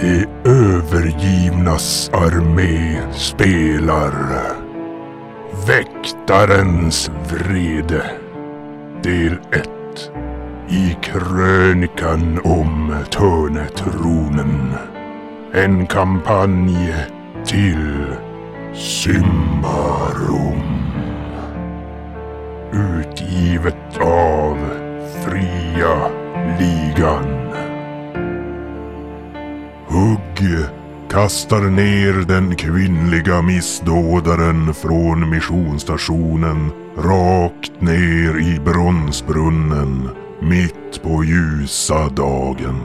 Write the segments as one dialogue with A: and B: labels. A: De övergivnas armé spelar Väktarens vrede Del 1 I krönikan om Törnetronen En kampanj till Symbarum Utgivet av Fria Ligan Hugg kastar ner den kvinnliga missdådaren från missionsstationen rakt ner i bronsbrunnen mitt på ljusa dagen.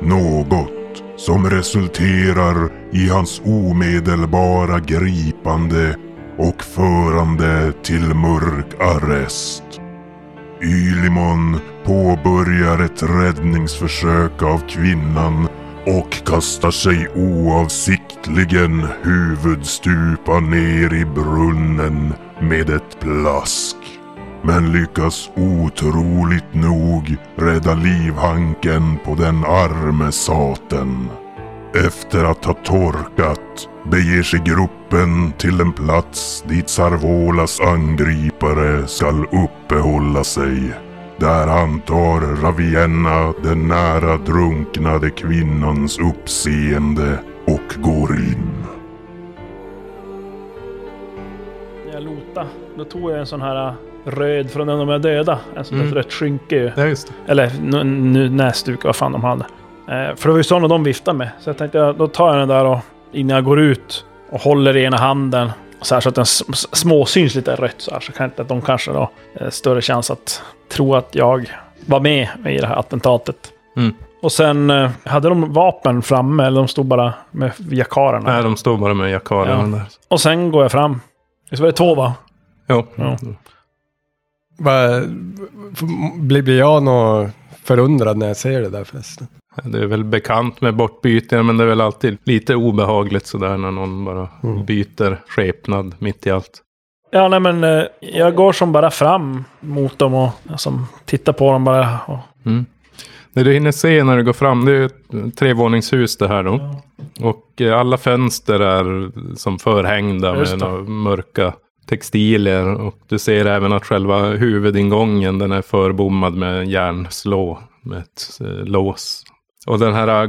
A: Något som resulterar i hans omedelbara gripande och förande till mörk arrest. Ylimon påbörjar ett räddningsförsök av kvinnan och kastar sig oavsiktligen huvudstupa ner i brunnen med ett plask. Men lyckas otroligt nog rädda livhanken på den arme saten. Efter att ha torkat beger sig gruppen till en plats dit Sarvolas angripare skall uppehålla sig. Där antar Ravienna den nära drunknade kvinnans uppseende och går in.
B: När jag lota, då tog jag en sån här äh, röd från en av de döda. En sån
C: Mm.
B: där rätt skynke.
C: Ja, just det.
B: Eller nu, nu, näsduk, vad fan de hade. Eh, för det var ju såna de viftade med. Så jag tänkte, ja, då tar jag den där och, innan jag går ut och håller i ena handen. Så här så att den s- s- småsyns lite rött så här. Så kan inte att de kanske då eh, större chans att tro att jag var med i det här attentatet.
C: Mm.
B: Och sen eh, hade de vapen framme, eller de stod bara med jakarerna.
C: Nej, de står bara med jakaren där.
B: Och sen går jag fram. Det var det två va?
C: Jo.
B: Ja.
D: Va, blir, blir jag nog förundrad när jag ser det där förresten?
C: Det är väl bekant med bortbyten, men det är väl alltid lite obehagligt sådär när någon bara
D: Mm.
C: byter skepnad mitt i allt.
B: Ja, nej men eh, jag går som bara fram mot dem och som tittar på dem bara. Och,
C: Det du hinner se när du går fram, det är ju ett trevåningshus det här då. Och eh, alla fönster är som förhängda
B: Just
C: med
B: det.
C: några mörka textilier. Och du ser även att själva huvudingången den är förbommad med en järnslå med ett eh, lås. Och den här eh,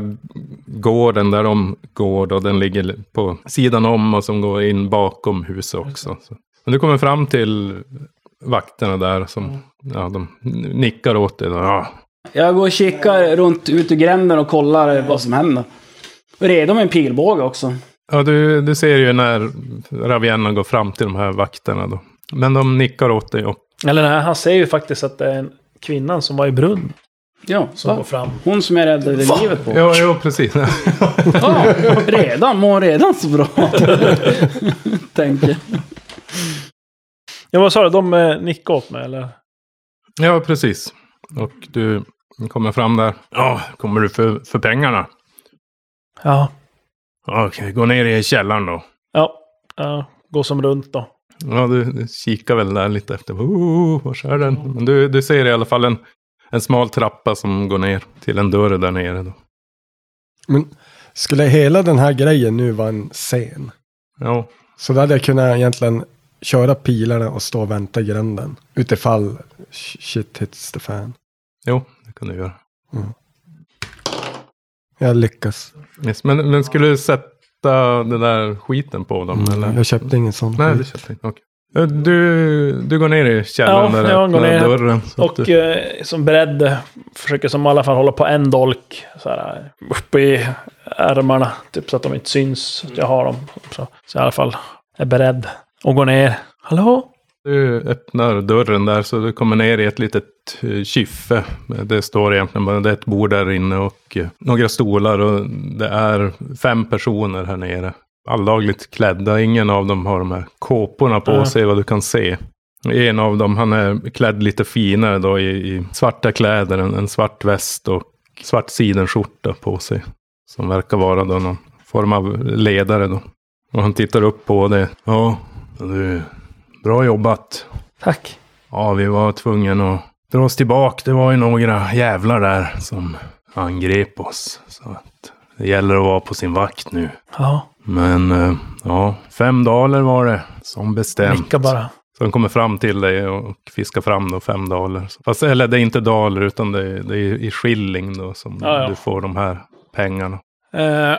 C: gården där de går då, den ligger på sidan om och som går in bakom huset också. Så. Men du kommer fram till vakterna där som ja, de nickar åt dig. då. Ja,
E: Jag går och kikar runt ut i gränden och kollar eh, vad som händer. Redo med en pilbåge också.
C: Ja, du, du ser ju när Ravienna går fram till de här vakterna då. Men de nickar åt dig och
B: eller nej, han säger ju faktiskt att det är en kvinnan som var i brunn
E: Ja,
B: som går
E: va?
B: fram.
E: Hon som jag räddade livet på.
C: Ja, ja precis.
E: Ja, redan? Mår hon redan så bra? Tänker.
B: Ja, vad sa du? De eh, nickade åt mig eller?
C: Ja, precis. Och du kommer fram där. Ja, kommer du för, för pengarna?
B: Ja,
C: Ja, Okej, gå ner i källaren då.
B: ja, ja gå som runt då.
C: Ja, du, du kikar väl där lite efter. Oh, var är den? Men du, du ser i alla fall en, en smal trappa som går ner till en dörr där nere då.
D: Men skulle hela den här grejen nu vara en scen?
C: Ja,
D: Så då hade jag kunnat egentligen köra pilarna och stå och vänta i gränden. Utifall sh- shit hits the fan.
C: jo, det kan du göra.
D: Jag lyckas.
C: Yes, men, men skulle du sätta den där skiten på dem? Mm, Eller?
D: Jag köpte ingen sån.
C: Nej, det
D: skit.
C: köpte jag inte. Okej. Eh, Du, du går ner i källaren
B: Ja,
C: där
B: jag går
C: öppnar
B: ner.
C: dörren. Så att
B: Och
C: du,
B: eh, som beredd eh, försöker som i alla fall hålla på en dolk. Så här, eh, upp i ärmarna, typ så att de inte syns. Så att jag har dem. Så, så jag i alla fall är beredd och går ner. Hallå?
C: du öppnar dörren där så du kommer ner i ett litet eh, kyffe. Det står egentligen bara, det är ett bord där inne och eh, några stolar och det är fem personer här nere. Alldagligt klädda, ingen av dem har de här kåporna på
B: Ja.
C: sig vad du kan se. En av dem, han är klädd lite finare då i, i svarta kläder, en, en svart väst och svart sidenskjorta på sig. Som verkar vara då någon form av ledare då. Och han tittar upp på det. Ja, du, bra jobbat.
B: Tack.
C: Ja, vi var tvungna att dra oss tillbaka. Det var ju några jävlar där som angrep oss. Så att Det gäller att vara på sin vakt nu.
B: Ja,
C: Men eh, ja, fem daler var det som bestämt.
B: nicka bara.
C: Så de kommer fram till dig och fiskar fram då fem daler. Fast, eller det är inte daler utan det är, det är i skilling då som
B: Ja, ja.
C: du får de här pengarna.
B: Eh,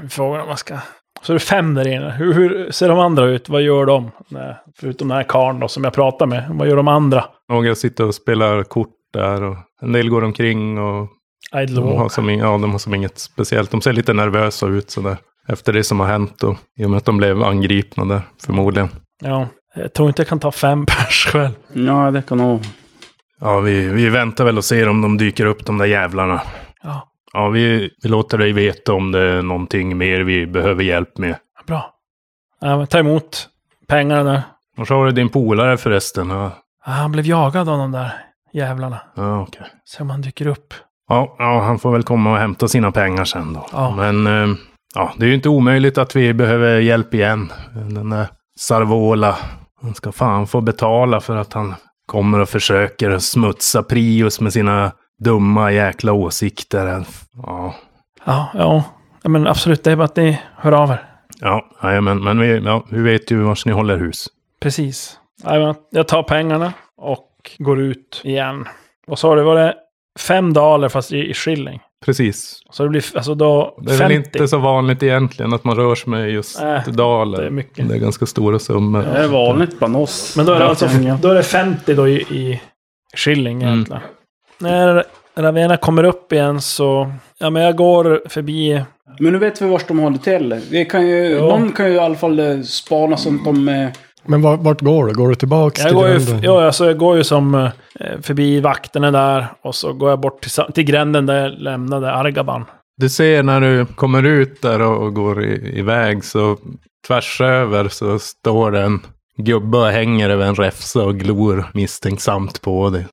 B: vi frågar om man ska... Så är det fem där inne. Hur, hur ser de andra ut? Vad gör de? Nej, förutom den här karln då som jag pratar med. Vad gör de andra?
C: Några sitter och spelar kort där och en del går omkring och
B: Idle
C: de har,
B: walk.
C: som, ing- ja, de har som inget speciellt. De ser lite nervösa ut sådär. Efter det som har hänt och i och med att de blev angripna där förmodligen.
B: Ja. Jag tror inte jag kan ta fem pers själv.
E: Ja, det kan nog...
C: Ja, vi, vi väntar väl och ser om de dyker upp de där jävlarna.
B: Ja,
C: Ja, vi, vi låter dig veta om det är någonting mer vi behöver hjälp med.
B: bra. Ja, men ta emot pengarna där.
C: Och så har du din polare förresten. Ja,
B: Ah, han blev jagad av de där jävlarna.
C: ja okej.
B: Se om han dyker upp.
C: Ja, ja, han får väl komma och hämta sina pengar sen då.
B: Ja.
C: Men eh, ja, det är ju inte omöjligt att vi behöver hjälp igen. Den där Sarvola, han ska fan få betala för att han kommer och försöker smutsa Prius med sina dumma jäkla åsikter. Ja,
B: Ja, ja. ja men absolut. Det är bara att ni hör av er.
C: ja, ja men, men vi, ja, vi vet ju vars ni håller hus.
B: Precis. Ja, men Jag tar pengarna och går ut igen. Och så har det varit fem daler fast i, i skilling.
C: Precis.
B: Så det blir alltså då
C: Det är
B: 50.
C: väl inte så vanligt egentligen att man rör sig med just
B: Nej,
C: daler.
B: Äh, det är mycket.
C: Det är ganska stora summor.
E: Det är vanligt bland oss.
B: Men då är det alltså
E: Ja.
B: då är det 50 då i, i shilling
C: Mm.
B: egentligen. När Ravena kommer upp igen så... Ja, men jag går förbi...
E: Men nu vet vi vart de håller till. Vi kan ju,
B: Ja.
E: Någon kan ju i alla fall eh, spana så att de... eh,
D: Men var, vart går du? Går du tillbaka
B: Jag
D: till
B: går ju,
D: gränden?
B: ja, alltså jag går ju som eh, förbi vakterna där och så går jag bort till, sa- till gränden där jag lämnade Argaban.
C: Du ser när du kommer ut där och och går i- iväg så tvärs över så står det en gubbe och hänger över en räfsa och glor misstänksamt på dig.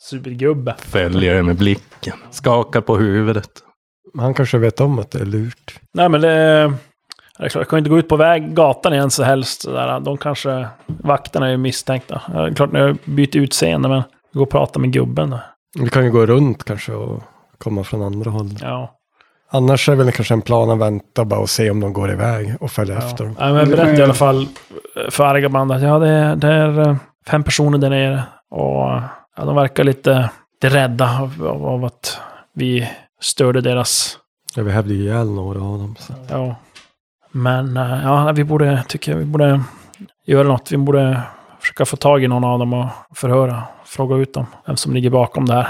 B: Supergubbe.
C: Följer dig med blicken. Skakar på huvudet.
D: Han kanske vet om att det är lurt.
B: Nej, men det... ja, Det är klart, jag kan ju inte gå ut på väg, gatan igen så helst. Så där. De kanske... Vakterna är ju misstänkta. Ja, Det är klart när jag byter utseende, men... Gå och prata med gubben då.
D: Vi kan ju gå runt kanske och komma från andra håll.
B: Ja.
D: Annars är väl kanske en plan att vänta bara och se om de går iväg och följa efter dem.
B: Ja, men jag
E: Det kan
B: berättade
E: ju-
B: i alla fall för Argaband att ja, det är, det är eh, fem personer där nere. Och ja, de verkar lite rädda av, av, av att vi störde deras...
D: Ja, vi hävde ju ihjäl några av dem. Så.
B: Ja. Men eh, ja, vi borde, tycker jag, vi borde göra något. Vi borde försöka få tag i någon av dem och förhöra. Fråga ut dem, vem som ligger bakom det här.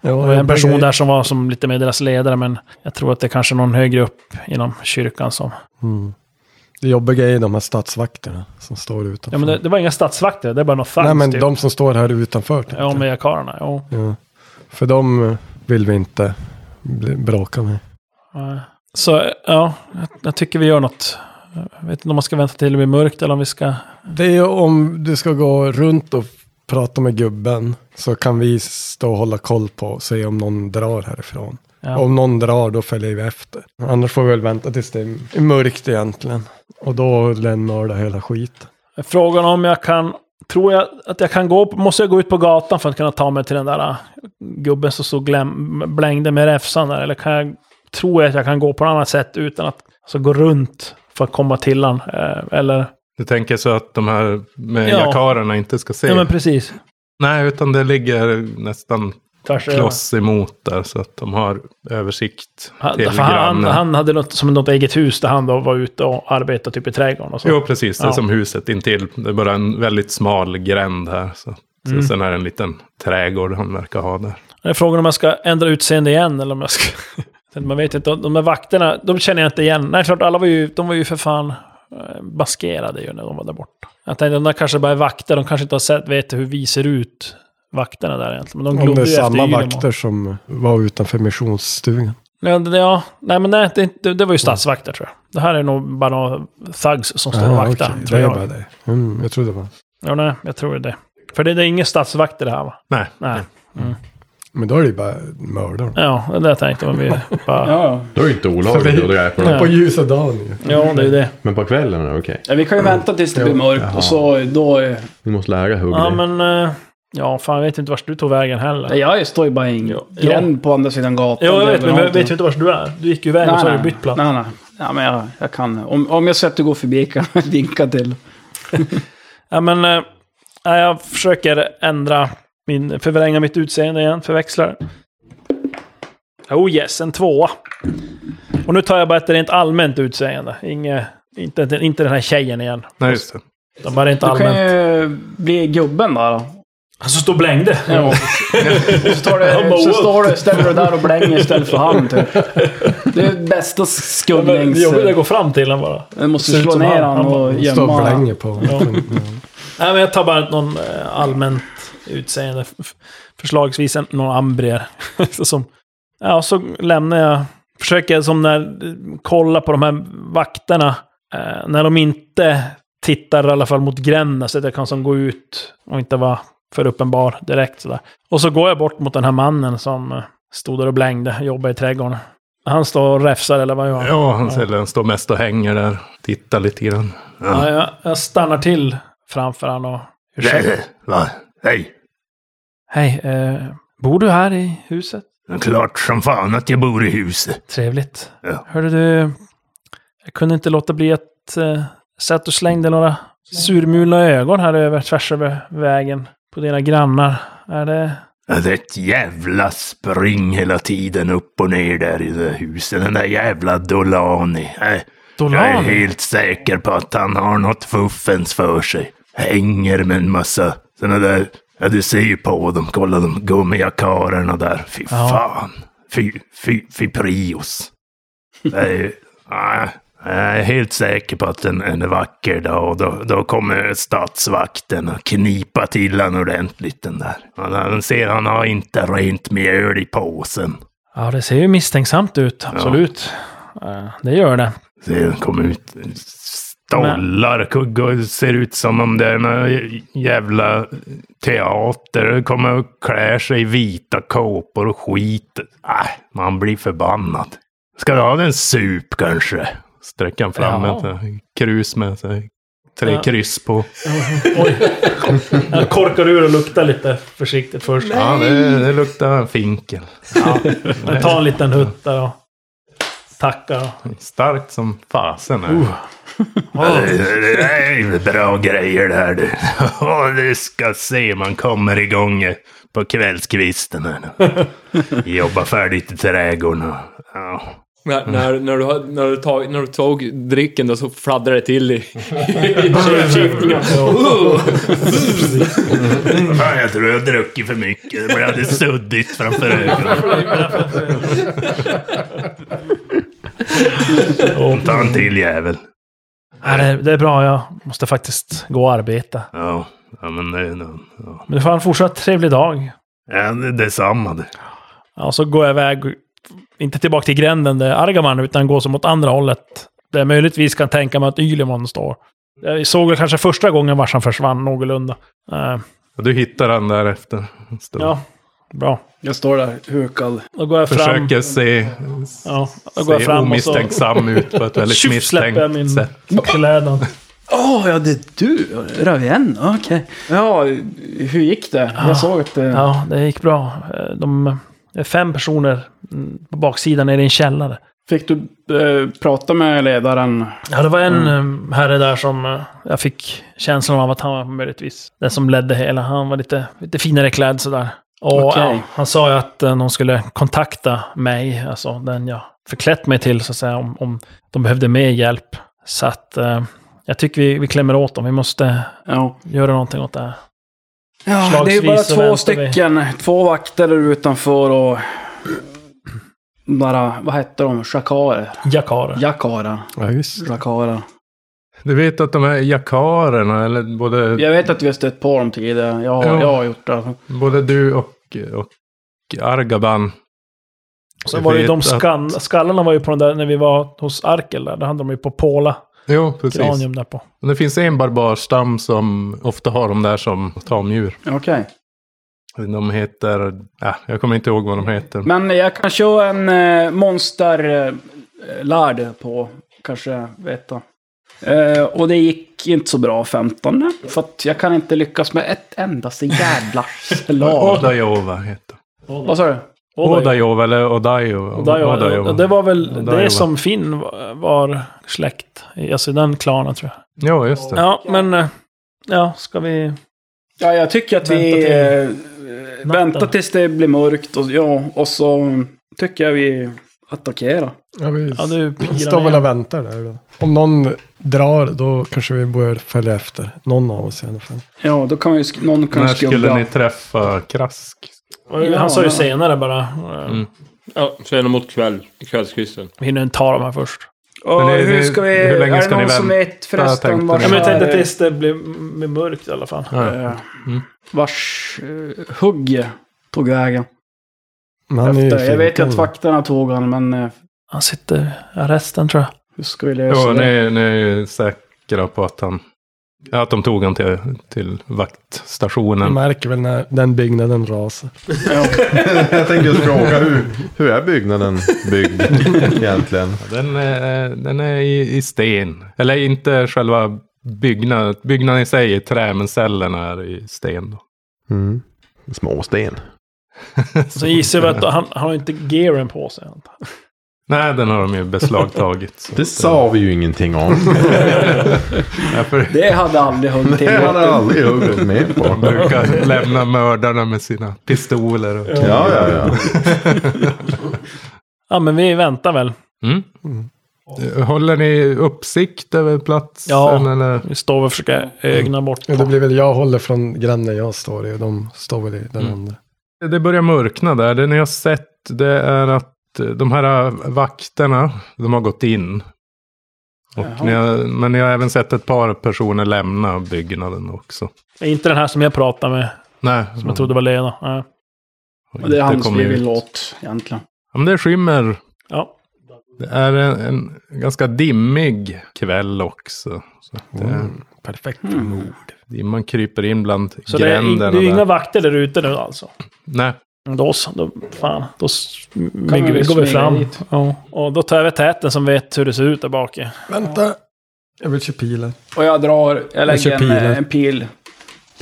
D: Ja,
B: Det var en person där som var som lite med deras ledare, men jag tror att det är kanske någon högre upp inom kyrkan som
D: Mm. Det jobbiga är de här stadsvakterna som står utanför.
B: Ja, men det, det var inga statsvakter, det är bara något
D: Nej,
B: fans.
D: men
B: typ.
D: de som står här utanför. tänkte
B: Ja,
D: jag.
B: med jakarerna. Ja.
D: Ja. För de vill vi inte bli- bråka med.
B: Nej. Så ja, jag, jag tycker vi gör något. Jag vet inte om man ska vänta till det blir mörkt eller om vi ska...
D: Det är ju om du ska gå runt och prata med gubben så kan vi stå och hålla koll på och se om någon drar härifrån.
B: Ja.
D: Om någon drar då följer vi efter. Annars får vi väl vänta tills det är mörkt egentligen. Och då lämnar det hela skiten.
B: Frågan om jag kan... Tror jag att jag kan gå... Måste jag gå ut på gatan för att kunna ta mig till den där äh, gubben som stod gläm, blängde med räfsan där? Eller kan jag... Tror jag att jag kan gå på något annat sätt utan att... Alltså gå runt för att komma till han? eh, Eller...
C: Du tänker så att de här med
B: Ja.
C: jakarerna inte ska se?
B: Ja, men precis.
C: Nej, utan det ligger nästan
B: Tvärs över.
C: kloss emot där så att de har översikt
B: Han,
C: till
B: för han,
C: grannen.
B: han hade något, som något eget hus där han då var ute och arbetade typ i trädgården och så.
C: Jo, precis. Det är
B: Ja.
C: som huset intill. Det är bara en väldigt smal gränd här. Så. Så
B: Mm.
C: Sen är det en liten trädgård han verkar ha där.
B: Det är frågan om jag ska ändra utseende igen eller om jag ska... Man vet inte, de här vakterna, de känner jag inte igen. Nej, klart, alla var ju, de var ju för fan eh, maskerade ju när de var där borta. Jag tänkte, de där kanske bara är vakter, de kanske inte har sett, vet hur vi ser ut, vakterna där egentligen. Men de
D: Om det
B: glodde
D: är
B: ju efter
D: samma
B: Ylemo.
D: vakter som var utanför missionsstugan.
B: Ja, det- ja, nej men nej, det, det,
D: Mm.
B: det var ju stadsvakter tror jag. Det här är nog bara några thugs som står och
D: Ah,
B: vaktar,
D: okej.
B: tror
D: Det är
B: jag.
D: bara det. Mm, jag tror det var.
B: Ja, nej, jag tror det. För det, det är ingen stadsvakter det här va?
C: Nej.
B: Nej.
D: Mm. Men då är det ju bara mördaren.
B: Ja, det där tänkte jag. men Vi bara, ja.
E: Ja, ja.
F: Då är det inte olagligt att dräpa
B: Ja.
F: dem.
D: På ljusa dagen ju.
B: ja, det är ju det.
F: Men på kvällen är det okej.
E: ja, vi kan ju vänta tills det blir mörkt och så då... eh,
F: Vi måste lära hugg
B: Ja,
F: dig.
B: men eh, Ja, fan jag vet inte vart du tog vägen heller.
E: Nej, Jag står ju bara i en
B: Ja.
E: gränd på andra sidan gatan.
B: Jo, jag vet, men jag
E: Överallt.
B: vet ju inte vart du är. Du gick ju iväg och så har du bytt plats.
E: Nej, nej. Ja, men jag, jag kan. Om, om jag ser att du går förbi kan jag vinka till.
B: Ja, men, eh, nej, jag försöker ändra min, förvränga mitt utseende igen, förväxlar. Oh yes, en tvåa. Och nu tar jag bara ett rent allmänt utseende. Inge, inte, inte- inte den här tjejen igen.
G: Nej, just det.
B: Utan bara rent
E: Du kan
B: allmänt.
E: ju eh, bli gubben där då.
B: Han som stod och blängde.
E: Så, tar du, så står du, ställer du där och blänger istället för han typ. Det är bästa
B: Ja, men Det
E: skuggnings...
B: är jobbigt att gå fram till honom bara.
E: Du måste
B: Ser ut
E: slå
B: som
E: ner
B: han.
E: han
B: Han
E: och
B: bara-
D: Står och
E: gömma han.
D: blänger på. Men, ja.
B: Nej, men jag tar bara någon eh, allmänt utseende. F- f- Förslagsvis en, någon ambrier. Så som, ja, så lämnar jag. Försöker som när, kolla på de här vakterna. Eh, när de inte tittar i alla fall mot gränden så att jag kan som gå ut och inte vara för uppenbar direkt. Sådär. Och så går jag bort mot den här mannen som eh, stod där och blängde, jobbar i trädgården. Han står och räfsar eller vad gör han?
G: Ja, han säljer den. Står mest och hänger där. Tittar lite grann.
B: Ja, jag, jag stannar till framför han och... Ursäkta.
C: Va? Hej!
B: Hej, eh, bor du här i huset?
C: Klart som fan att jag bor i huset.
B: Trevligt.
C: Ja.
B: Hörde du, jag kunde inte låta bli att eh, se att du slängde några surmulna ögon här över, tvärs över vägen på dina grannar. Är det...
C: Det är ett jävla spring hela tiden upp och ner där i det huset. Den där jävla Dolani. Äh, Jag är
B: Dolan?
C: helt säker på att han har något fuffens för sig. Hänger med en massa såna där... Ja, du ser ju på dem. Kolla de gummiga karlarna där. Fy
B: Ja.
C: fan. Fy, fy, fy prios. Det är ju- Nej, Jag är helt säker på att en, en vacker dag, då, då kommer statsvakten och knipa till han ordentligt den där. Han, han ser, han har inte rent mjöl i påsen.
B: Ja, det ser ju misstänksamt ut, absolut. Eh, det gör det.
C: Ser han eh, kom ut. Stollar, kuggar, ser ut som om det är någon jävla teater. Kommer och klär sig i vita kåpor och skit. Äh, man blir förbannad. Ska du ha en sup kanske?
G: Sträcker han fram
B: Ja.
G: ett eh, krus med sig. Tre
B: Ja.
G: kryss på.
B: Jag korkar ur och luktar lite försiktigt först.
G: Ja, det, det luktar finkel.
B: Jag tar en liten hutt där och tackar. och-
G: Starkt som fasen. Är.
C: Det det är ju bra grejer det här du. Ja, du ska se, man kommer igång eh, på kvällskvisten här nu. Jobba färdigt i trädgården och, ja.
F: När, när, när, du, har- när, du tag, när du tog drycken då så fladdrade det till i, i kippningarna.
C: Fan, jag tror jag har druckit för mycket. Det blir alldeles suddigt framför ögonen. Och ta en till jävel.
B: Ja, det, det är bra, jag måste faktiskt gå och arbeta.
C: Ja, ja men det är nog- ja.
B: Men du får ha en fortsatt trevlig dag.
C: ja, det- detsamma du.
B: Ja, och så går jag iväg, inte tillbaka till gränden där Argaman, utan går som åt andra hållet. Där jag möjligtvis kan tänka mig att Ylemon står. Jag såg väl kanske första gången vars han försvann någorlunda. Eh,
G: Och Du hittar han därefter. Han står-
B: ja, bra.
E: Jag står där hukad.
B: Då går jag fram.
G: Försöker se,
B: Ja, då går jag
G: se
B: fram och så
G: omisstänksam ut på ett väldigt
B: tjuff släpper jag min
G: misstänkt sätt.
B: klädan.
E: Åh, ja det är du! Ravien, okej. Ja, hur gick det? Jag såg att eh, det...
B: Ja, det gick bra. Eh, De det är fem personer mm, på baksidan nere i en källare.
E: Fick du eh, prata med ledaren?
B: Ja, det var
G: Mm.
B: en eh, herre där som eh, jag fick känslan av att han var möjligtvis den som ledde hela. Han var lite, lite finare klädd sådär. Och
E: Okej.
B: ja, han sa ju att eh, någon skulle kontakta mig, alltså den jag förklätt mig till, så att säga, om, om de behövde mer hjälp. Så att eh, jag tycker vi, vi klämmer åt dem. Vi måste
E: Ja.
B: göra någonting åt det här.
E: ja det är
B: Förslagsvis
E: bara
B: så
E: två
B: väntar vi.
E: stycken. Två vakter där utanför och... Bara, vad hette de? Shakarer?
B: Jakarer.
E: Jakara?
D: ja, just.
E: Shakara.
G: Du vet att de här jakarerna, eller både,
E: Jag vet att vi har stött på dem tidigare. Jag har,
G: Ja.
E: jag har gjort det.
G: både du och, och Argaban.
B: Så var det ju
G: vet
B: de
G: att-
B: skall, skallarna var ju på den där när vi var hos Arkel där. Då hade de ju på Påla.
G: Jo, precis.
B: Granium där på.
G: Men Det finns en barbarstam som ofta har de där som tamdjur.
E: Okej.
G: De heter... Äh, jag kommer inte ihåg vad de heter.
E: Men jag kan köra en eh, monster eh, lärd på. Kanske veta. Eh, och det gick inte så bra 15. För att jag kan inte lyckas med ett endaste jävla slag.
C: Odajova heter
E: Vad sa du?
C: Odajova eller Odajova.
B: Odaiova. Och Det var väl
C: Odaiova.
B: det som Finn var- var släkt. i, Alltså den klanen tror jag.
C: Ja, just det.
B: Ja, men... eh, Ja, ska vi...
E: Ja, jag tycker att
B: Vänta
E: vi
B: till-
E: eh, väntar tills det blir mörkt. Och, ja, och så tycker jag vi attackerar.
D: Ja, vi
B: Ja, du pirar
D: står väl
B: ner.
D: och väntar där. då. Om någon drar, då kanske vi bör följa efter. Någon av oss i alla fall.
E: Ja, då kan ju sk- någon kan
C: När skulle
E: skugga.
C: ni träffa Krask?
B: Och Han sa ju
E: Ja.
B: senare bara... eh,
C: Mm.
F: Ja, sen mot kväll, kvällskvisten.
B: Vi hinner inte ta de här först.
E: Och
C: Men det-
E: hur
C: det-
E: ska vi...
C: hur länge
E: är det
C: ska
E: någon
C: ni
E: som
C: vänta,
E: vet förresten
C: tänkte
E: vars...
B: Ja, men jag tänkte
E: eh,
B: tills det blir med mörkt i alla fall.
E: eh, Vars eh, hugg tog vägen.
D: Men han är ju
E: Efter. Jag vet ju
D: finkan.
E: att vakterna tog han, men eh,
B: Han sitter i arresten tror jag.
E: hur ska vi lösa
C: Ja, ni,
E: det?
C: ni är säkra på att han... Ja, att de tog han till, till
D: Vi
C: vaktstationen.
D: märker väl när den byggnaden rasar.
H: Jag tänkte just fråga hur, hur är byggnaden byggd egentligen?
C: Den är, den är i, i sten. Eller inte själva byggnaden. Byggnaden i sig är i trä, men cellerna är i sten. Då.
H: Mm. Småsten.
B: Så gissar vi att han, han har inte gearen på sig. antar jag.
C: Nej, den har de ju beslagtagit. så
H: Det
C: att-
H: sa vi ju ingenting om.
C: Ja, för
E: Det hade aldrig hugg till.
H: Det hade aldrig jag gått med på.
C: brukar lämna mördarna med sina pistoler. Och...
H: Ja, ja, ja.
B: Ja, men vi väntar väl.
C: Mm. Håller ni uppsikt över platsen?
B: Ja.
C: Eller?
B: Vi står och försöker ögna bort.
D: Ja, det blir väl jag håller från grannen jag står i och de står väl i den andra.
C: Det börjar mörkna där. Det ni har sett det är att eh, de här vakterna, de har gått in. Och
E: Jaha.
C: ni har, men ni har även sett ett par personer lämna byggnaden också.
B: Inte den här som jag pratade med.
C: Nej,
B: Som jag trodde var Lena. Nej.
C: har
E: Det är
C: inte
E: han som
C: kommit
E: vi
C: ut.
E: vill åt egentligen.
C: Ja, men det skymmer.
B: Ja.
C: Det är en, en ganska dimmig kväll också. Så att det,
D: Perfekt.
E: Mm.
C: Dimman kryper in bland
B: Mm. Så det är, in, det
C: gränderna.
B: är inga
C: där.
B: vakter där ute nu alltså.
C: Nej,
B: Då så, då, fan, då
E: man
B: smyger vi, går
E: väl
B: vi
E: smyga
B: fram.
E: dit.
B: Ja. Och då tar vi täten som vet hur det ser ut där bak. i.
D: Vänta. Jag vill köra pilar.
E: Och jag drar, jag lägger
D: kör
E: en,
D: pilar.
E: eh, en pil,
D: Fem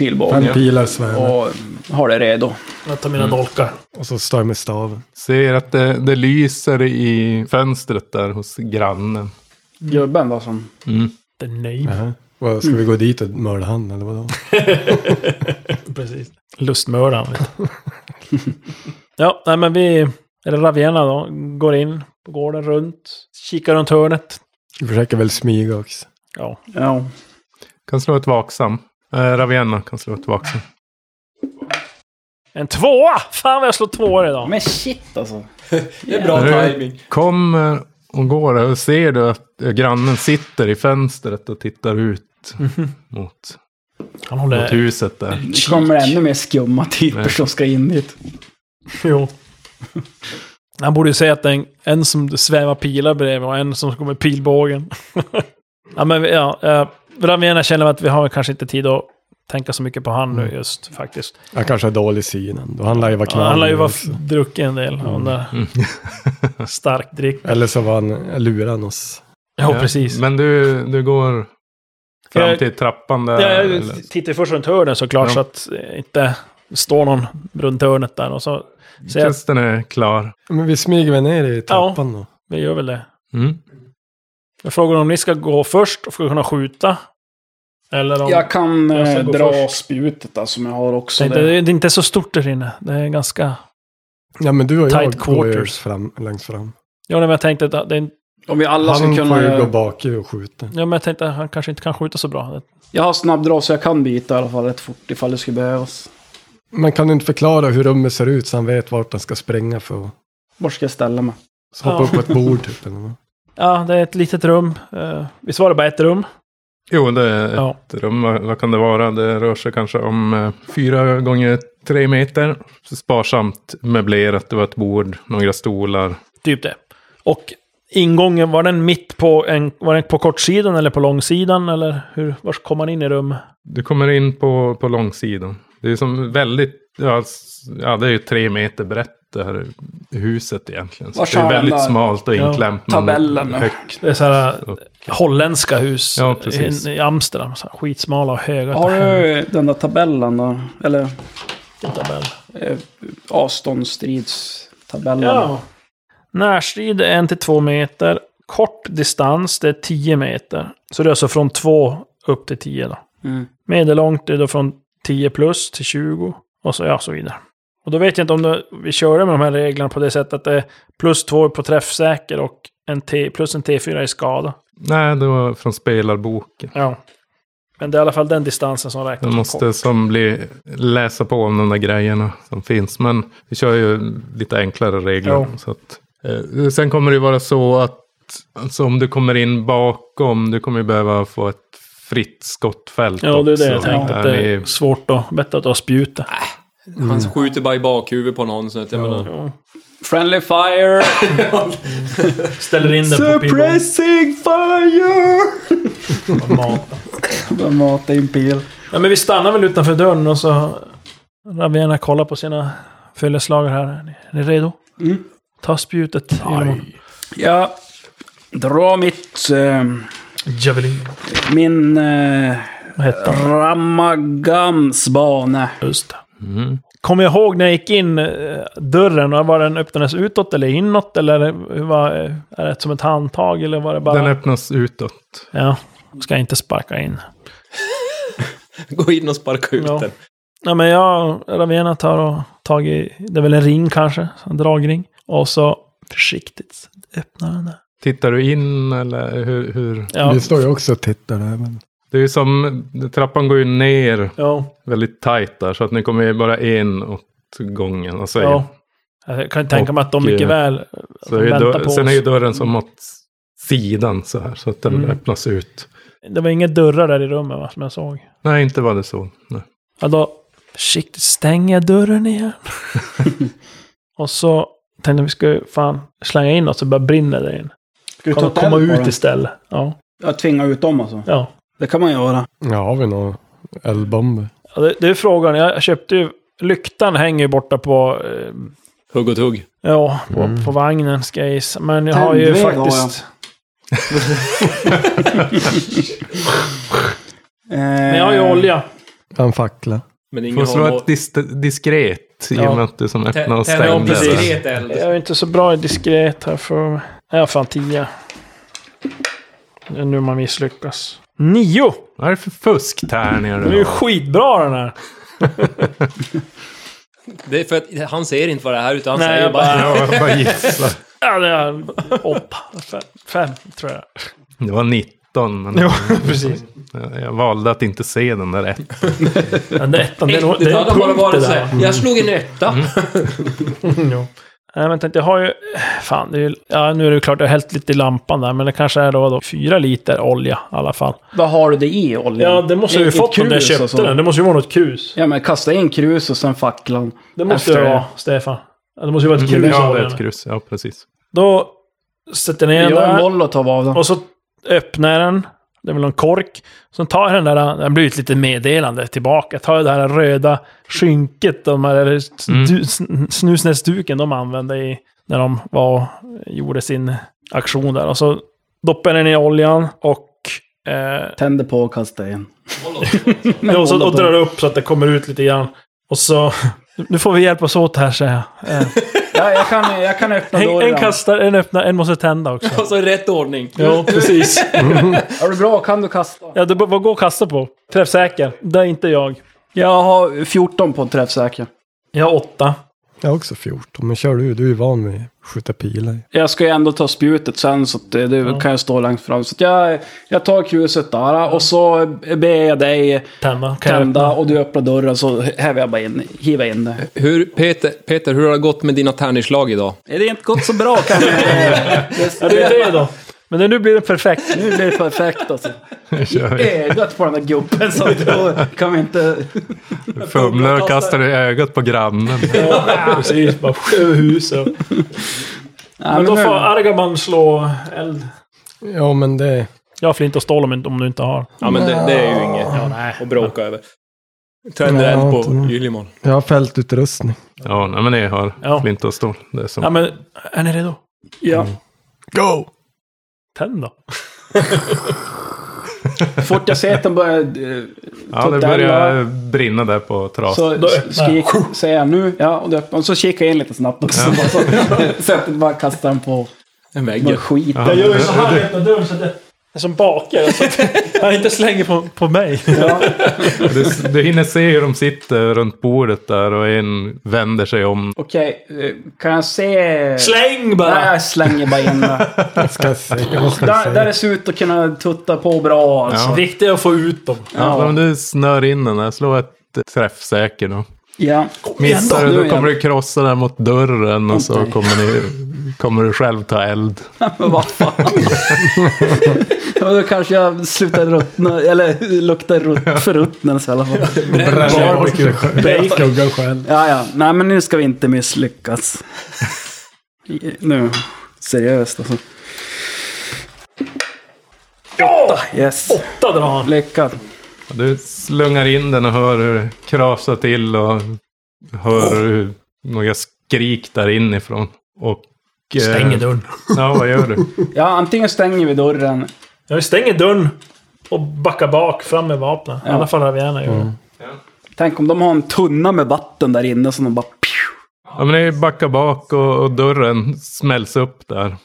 E: pilbåge
D: pilar svävar.
E: och har det redo.
B: Jag tar mina dolkar.
D: Och så står jag med staven.
C: ser att det, det lyser i fönstret där hos grannen. Mm.
E: Gubben då som...
B: Det är nej.
D: Vad, Ska vi gå dit och mörda han eller vadå?
B: Precis. Lustmördaren. vet du. ja, nej men vi, eller Ravena då, går in på gården runt, kikar runt hörnet.
D: Vi försöker väl smyga också.
B: Ja,
E: Ja.
C: Kan slå ett vaksam. Eh, Ravenna kan slå ett vaksam.
B: en tvåa! Fan vad jag slår tvåor idag.
E: Men shit alltså.
F: Det är bra
C: När
F: timing.
C: du kommer och går där och ser du att eh, grannen sitter i fönstret och tittar ut mot,
B: Han
C: mot
B: håller...
C: huset där.
E: Nu kommer det ännu mer skumma typer som ska in dit.
B: Jo. Han borde ju säga att det är en, en som svävar pilar bredvid och en som går med pilbågen. ja, men vi- ja, eh, Ravena känner att vi har kanske inte tid att tänka så mycket på han
C: Mm.
B: nu just faktiskt.
D: Han kanske har dålig syn ändå. Han lär ju vara klar.
B: han lär ju
D: nu
B: vara f-
D: också.
B: druckit en
C: Mm.
B: del. av den där Stark dryck.
D: Eller så var han luran oss.
B: Ja,
C: Ja,
B: precis.
C: Men du, du går fram
B: Jag-
C: till trappan där.
B: Ja, jag
C: eller-
B: tittar ju först runt hörnet såklart
C: eh, Ja.
B: så att eh, inte står någon runt hörnet där. Och så säger jag att
C: Kusten är klar.
D: Men vi smyger väl ner i trappan då.
B: vi gör väl det.
C: Mm.
B: Jag frågar om ni ska gå först och ska kunna skjuta. Eller om...
E: Jag kan
B: Jag ska
E: eh,
B: gå
E: dra
B: först.
E: spjutet där som jag har
B: det,
E: också.
B: är inte,
E: där.
B: det är inte så stort där inne. Det är ganska...
D: Ja men du och jag
B: Tight
D: går ju
B: quarters.
D: fram, längst fram.
B: Ja, nej, men jag tänkte att det är... en-
E: Om vi alla
D: Han
E: ska
D: får ju gå
E: kunna...
D: bak i och skjuta.
B: Ja, men jag tänkte att han kanske inte kan skjuta så bra.
E: Jag har snabbdrag så jag kan bita i alla fall rätt fort ifall det skulle behövas.
D: Men kan du inte förklara hur rummet ser ut så han vet vart han ska spränga för att
E: Var ska jag ställa mig?
D: så hoppa
B: Ja.
D: upp på ett bord typ eller något.
B: Ja, det är ett litet rum. Eh, Visst var det bara ett rum?
C: Jo, det är ett
B: Ja.
C: rum. Vad, vad kan det vara? Det rör sig kanske om eh, fyra gånger tre meter. Sparsamt möblerat. Det var ett bord, några stolar.
B: Typ det. Och ingången, var den mitt på en... Var den på kortsidan eller på långsidan? Eller hur... Var kom man in i rummet?
C: Du kommer in på, på långsidan. Det är som väldigt, ja, s- ja det är ju tre meter brett det här huset egentligen. Så
E: Var
C: det är väldigt
E: kärnan-
C: smalt och inklämt. men
E: tabellen.
C: Högt.
B: Det är så här
C: Och-
B: holländska hus
C: Ja, precis.
B: i, i Amsterdam. Så här, skitsmala och höga.
E: Har du den där tabellen då? Eller
B: Tabell.
E: eh, avståndsstridstabellen?
B: Ja. Närstrid är 1-2 meter. Kort distans, det är 10 meter. Så det är alltså från 2 upp till 10 då.
E: Mm.
B: Medellångt är då från 10 plus till 20 och så, ja, så vidare. Och då vet jag inte om det, vi körde med de här reglerna på det sättet att det är plus 2 på träffsäker och en T, plus en T4 i skada.
C: Nej, det var från spelarboken.
B: Ja. Men det är i alla fall den distansen som räknas.
C: Jag
B: som
C: måste
B: kort.
C: som bli, läsa på om de där grejerna som finns. Men vi kör ju lite enklare regler.
B: Ja.
C: Så att, eh, sen kommer det ju vara så att alltså, om du kommer in bakom, du kommer ju behöva få ett fritt skottfält
B: Ja, det är det jag
C: också.
B: tänkte. Att
C: Där
B: det är
C: ni-
B: svårt att... Bättre att ha spjutet.
F: Han skjuter bara i bakhuvudet på någon. Så att jag menar,
B: Ja.
E: Friendly fire!
B: Ställer in den på pilbågen
E: Suppressing fire!
B: och matar.
E: De matar in pil.
B: Ja, men vi stannar väl utanför dörren och så Ravena kollar på sina följeslagare här. Är ni- Är ni redo?
E: Mm.
B: Ta spjutet. Ilmon.
E: Jag drar mitt... Eh,
B: Javelin.
E: min... Eh,
B: Vad hette han?
E: Ramagansbane.
B: Just det.
C: Mm.
B: Kommer jag ihåg när jag gick in eh, dörren? och Var den öppnades utåt eller inåt? Eller hur var, eh, är det som ett handtag? Eller var det bara...
C: Den öppnas utåt.
B: Ja, ska jag inte sparka in.
F: gå in och sparka ut
B: Ja.
F: den.
B: Ja, men jag, Ravena tar och tagit, det är väl en ring kanske, en dragring. Och så försiktigt öppnar den där.
C: Tittar du in eller hur? hur?
B: Ja,
D: Vi står ju också och tittar där. Men...
C: Det är ju som, trappan går ju ner
B: ja.
C: väldigt tajt där. Så att ni kommer ju bara in åt gången. Och så,
B: Ja. Jag kan tänka mig att de
C: Och,
B: mycket
C: eh,
B: väl...
C: så är ju
B: väntar
C: dörr,
B: på
C: sen
B: oss.
C: är ju dörren som åt sidan så här. Så att den
B: Mm.
C: öppnas ut.
B: Det var inga dörrar där i rummet va, som jag såg.
C: Nej, inte var det så. Nej.
B: Ja, då försiktigt stänger jag dörren igen. och så tänkte jag vi skulle fan slänga in något så bara brinner det in.
E: Ska vi
B: Komma, komma ut istället. Ja.
E: Jag tvingar ut dem alltså.
B: ja.
E: Det kan man göra. Eh,
D: Ja, har vi några eldbomber?
B: ja det, det är frågan. Jag köpte ju... Lyktan hänger ju borta på... Eh,
F: Hugg och tugg.
B: ja, på, på vagnen ska jag gissa. Men jag har ju
E: Tändväv har jag.
B: faktiskt... Men
E: Men
B: jag har ju olja.
D: En fackla.
F: Men
C: Det
F: ingen
C: måste
F: har
C: vara
F: något...
C: ett dis- diskret i och
B: Ja.
C: med att det är som öppnar
F: Tä-
C: och
F: Tända om
C: stänger. där.
F: diskret eld.
B: Jag är inte så bra i diskret här för... Nej, jag har fan tio. Det är nu man misslyckas. Nio!
C: Vad är det för fusktärningar
B: Den är
C: du
B: ju
C: har?
B: skitbra den här.
F: Det är för att han ser inte vad det här utan han
B: Nej,
F: säger
B: jag
F: bara...
B: bara-
C: Ja, jag bara gissar.
B: Ja, det är... Hopp. Fem, fem, tror jag.
C: Det var 19, men
B: precis.
C: jag jag valde att inte se den där ett.
B: Den där ettan, det är nog...
F: Det Mm.
B: Det är
F: hade
B: en
F: bara
B: punkt det
F: varit
B: där. Mm,
F: såhär, jag slog en etta.
B: Jo. Nej, men tänkte, jag har ju... Fan, det är ju... Ja, nu är det ju klart, jag har hällt lite i lampan där, men det kanske är då, då fyra liter olja i alla fall.
E: Vad har du det i oljan?
B: Ja, det måste
E: I-
B: jag ju alltså.
E: i
B: fått om jag
E: krus och
B: köpte
E: så.
B: den. Det måste ju vara något krus.
E: Ja, men kasta in krus och sen facklan.
B: Det måste
E: Efter
B: det
E: det.
B: vara, Stefan. Ja, Det måste ju vara ett krus. i
C: Ja, det är
B: oljan.
C: ett krus. Ja, precis.
B: Då sätter jag ner
E: Jag
B: den
E: gör en
B: där.
E: molotov av den.
B: Och så öppnar jag den. Det är väl en kork. Sen tar jag den där, den blir ju ett litet meddelande tillbaka. Tar jag det här röda skynket, de här, eller du, sn- snusnäsduken de använde i, när de var, gjorde sin aktion där. Och så doppar jag den i oljan och, eh,
E: Tänder på och kastar in.
B: ja, och, så, och drar upp så att det kommer ut lite grann. Och så, nu får vi hjälpas åt här säger jag. Eh,
E: Ja, jag kan, jag kan öppna
B: en, en
E: dörren.
B: kastar, en öppnar, en måste tända också.
F: Alltså i rätt ordning.
B: Ja, precis.
E: Är du bra kan du kasta.
B: Ja, det, vad går att kasta på? Träffsäker. Det är inte jag.
E: Jag har 14 på träffsäker.
B: Jag har åtta.
D: Jag har också 14, men kör du. Du är ju van vid att skjuta pilar.
E: Jag ska ju ändå ta spjutet sen så att det, det kan jag stå längst fram. Så att jag, jag tar kruset där och så ber jag dig
B: Tända. Kan jag
E: tända
B: öppna?
E: och du öppnar dörren så häver jag bara in, hivar in det.
F: Hur, Peter, Peter, hur har det gått med dina tärningslag idag?
E: Det är inte gått så bra kan jag
B: Ja, det är det då. Men det- nu blir det perfekt.
E: Nu blir det perfekt alltså.
C: Nu kör vi.
E: Ögat på den där gubben så då kan vi inte...
C: Fumlar och kastar i ögat på grannen.
B: Ja, precis. Bara över huset.
E: Nej,
B: Men då
E: nu-
B: får Argaman slå eld.
D: Ja, men det...
B: Jag har flint och stål om, inte- om du inte har.
F: Ja men det, det är ju inget att bråka över. Tänder
D: Ja,
F: eld
D: inte
F: på
D: nog.
F: Gyllimon.
D: Jag har fältutrustning.
C: Ja, nej, men ni har
B: Ja.
C: flint och stål. Det är som...
B: Ja, men är ni redo?
E: Ja.
D: Go!
B: Tänd då.
E: Fort jag ser att den börjar eh,
C: ja, det
E: tutella,
C: börjar brinna där på trasan.
E: Så skrik, säger jag nu, ja, och, det, och så kikar jag in lite snabbt också. Bara Så, så att jag bara kastar den på
F: En vägg.
E: någon skit.
B: Jag gör ju så här i öppna dörren så att det är som bakar. Så att han inte slänger på, på mig.
E: Ja.
C: Du, du hinner se hur de sitter runt bordet där och en vänder sig om.
E: Okej, eh, kan jag se...
B: Släng
E: Nej,
B: bara!
E: jag slänger bara in det.
D: Jag ska säga. Vad ska jag
E: Där, där
D: säga?
E: det ser ut att kunna tutta på bra alltså.
C: Ja.
B: Viktigt att få ut dem.
C: Ja.
E: Ja.
C: men du snör in den där, slå ett träffsäker då.
E: Ja.
C: Missar
E: Nu
C: du, då
E: igen.
C: kommer du krossa den mot dörren och så
E: Okej.
C: kommer, ni, kommer du själv ta eld.
E: Men vad fan. ja, då kanske jag slutar ruttna, eller luktar rutt, förruttnelse i alla fall.
D: Bränner bort det själv. Skuggan själv.
E: Ja, ja. Nej, men nu ska vi inte misslyckas. Nu. Seriöst alltså. Åtta! Yes.
B: Åtta drar han.
E: Lyckat.
C: Du slungar in den och hör hur det krasar till och hör hur några skrik där inifrån. Och... eh,
B: Stänger dörren.
C: Ja, vad gör du?
E: Ja, antingen stänger vi dörren.
B: Jag stänger dörren och backar bak fram med vapnen. I alla fall hade vi gärna gjort. det.
E: Tänk om de har en tunna med vatten där inne som de bara...
C: Ja, men ni backar bak och, och dörren smälls upp där.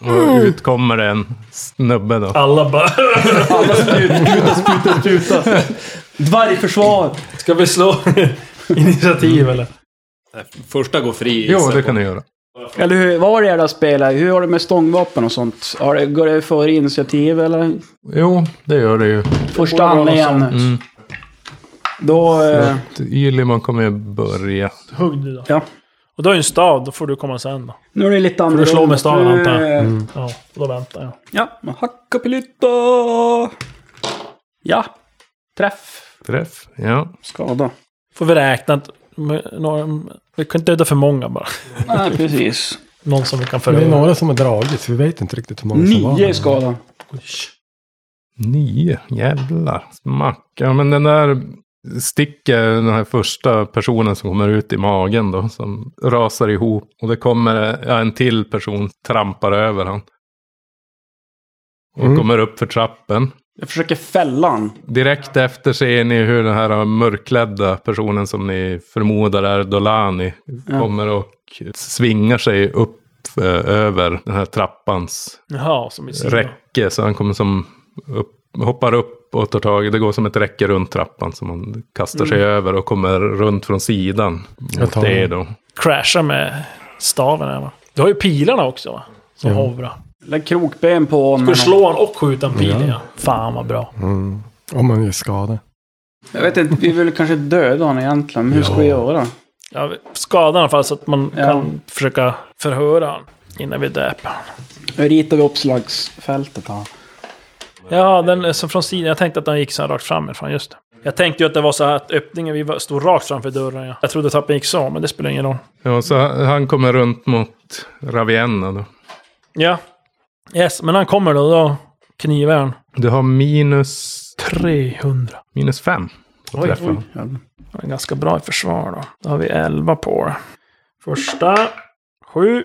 C: Och ut kommer en snubbe då.
B: Alla bara...
E: Alla spjuta, spjuta, spjuta, spjuta. Dvärgförsvar!
B: Ska vi slå initiativ eller?
F: Första går fri.
C: Jo, det kan du göra.
E: Eller hur, vad var det där spelar? Hur har du med stångvapen och sånt? Har det, går det före initiativ eller?
C: Jo, det gör det ju.
E: Första handlingen.
C: Mm.
E: Då... Eh,
C: Ylimon kommer ju börja.
B: Hugg du då.
E: Ja.
B: Och du har ju en stav, då får du komma sen då.
E: nu är det lite annorlunda.
B: du slå med staven, antar jag. Mm.
E: Eh,
B: Ja, och då väntar jag.
E: Ja, men hacka pilutta! Ja, träff.
C: Träff, ja.
E: Skada.
B: Får vi räkna att... med några- Vi kan inte döda för många bara.
E: Nej, precis.
B: Någon som vi kan
D: Det är
B: följa.
D: några som har dragits. Vi vet inte riktigt hur många som var.
E: Nio i skada.
C: Nio, jävlar. Smack. Ja, men den där sticker den här första personen som kommer ut i magen då. Som rasar ihop. Och det kommer ja, en till person trampar över han. Och
D: Mm.
C: kommer upp för trappen.
E: Jag försöker fälla han.
C: Direkt efter ser ni hur den här mörkklädda personen som ni förmodar är Dolani kommer och svingar sig upp eh, över den här trappans
B: Jaha, som i sidan.
C: räcke. Så han kommer som upp, hoppar upp och tar tag i, det går som ett räcke runt trappan som han kastar sig över och kommer runt från sidan. Mot
D: tar
C: det
D: den.
C: då.
B: Crasha med staven här va. Du har ju pilarna också va? Som hovrar.
E: Lägg krokben på honom.
B: Ska du slå han och skjuta en pil ja. Fan vad bra.
D: Om man är skadad.
E: Jag vet inte, vi vill kanske döda honom egentligen. Men hur ska vi göra?
B: Ja, skada i alla fall så att man
E: Ja.
B: kan försöka förhöra han innan vi döper han.
E: Nu ritar vi upp slagsfältet här.
B: Ja, den är så från sidan. Jag tänkte att den gick så här rakt framifrån, just det. Jag tänkte ju att det var så här att öppningen, vi var- stod rakt framför dörren. Ja. Jag trodde tappen gick så, men det spelar ingen roll.
C: Ja, så han han kommer runt mot Ravienna då.
B: Ja. Yes, men han kommer då. Då knivar han.
C: Du har minus,
B: 300.
C: minus fem. på
B: Oj,
C: träffen.
B: Han är ganska bra i försvar då. Då har vi 11 på det. Första. 7.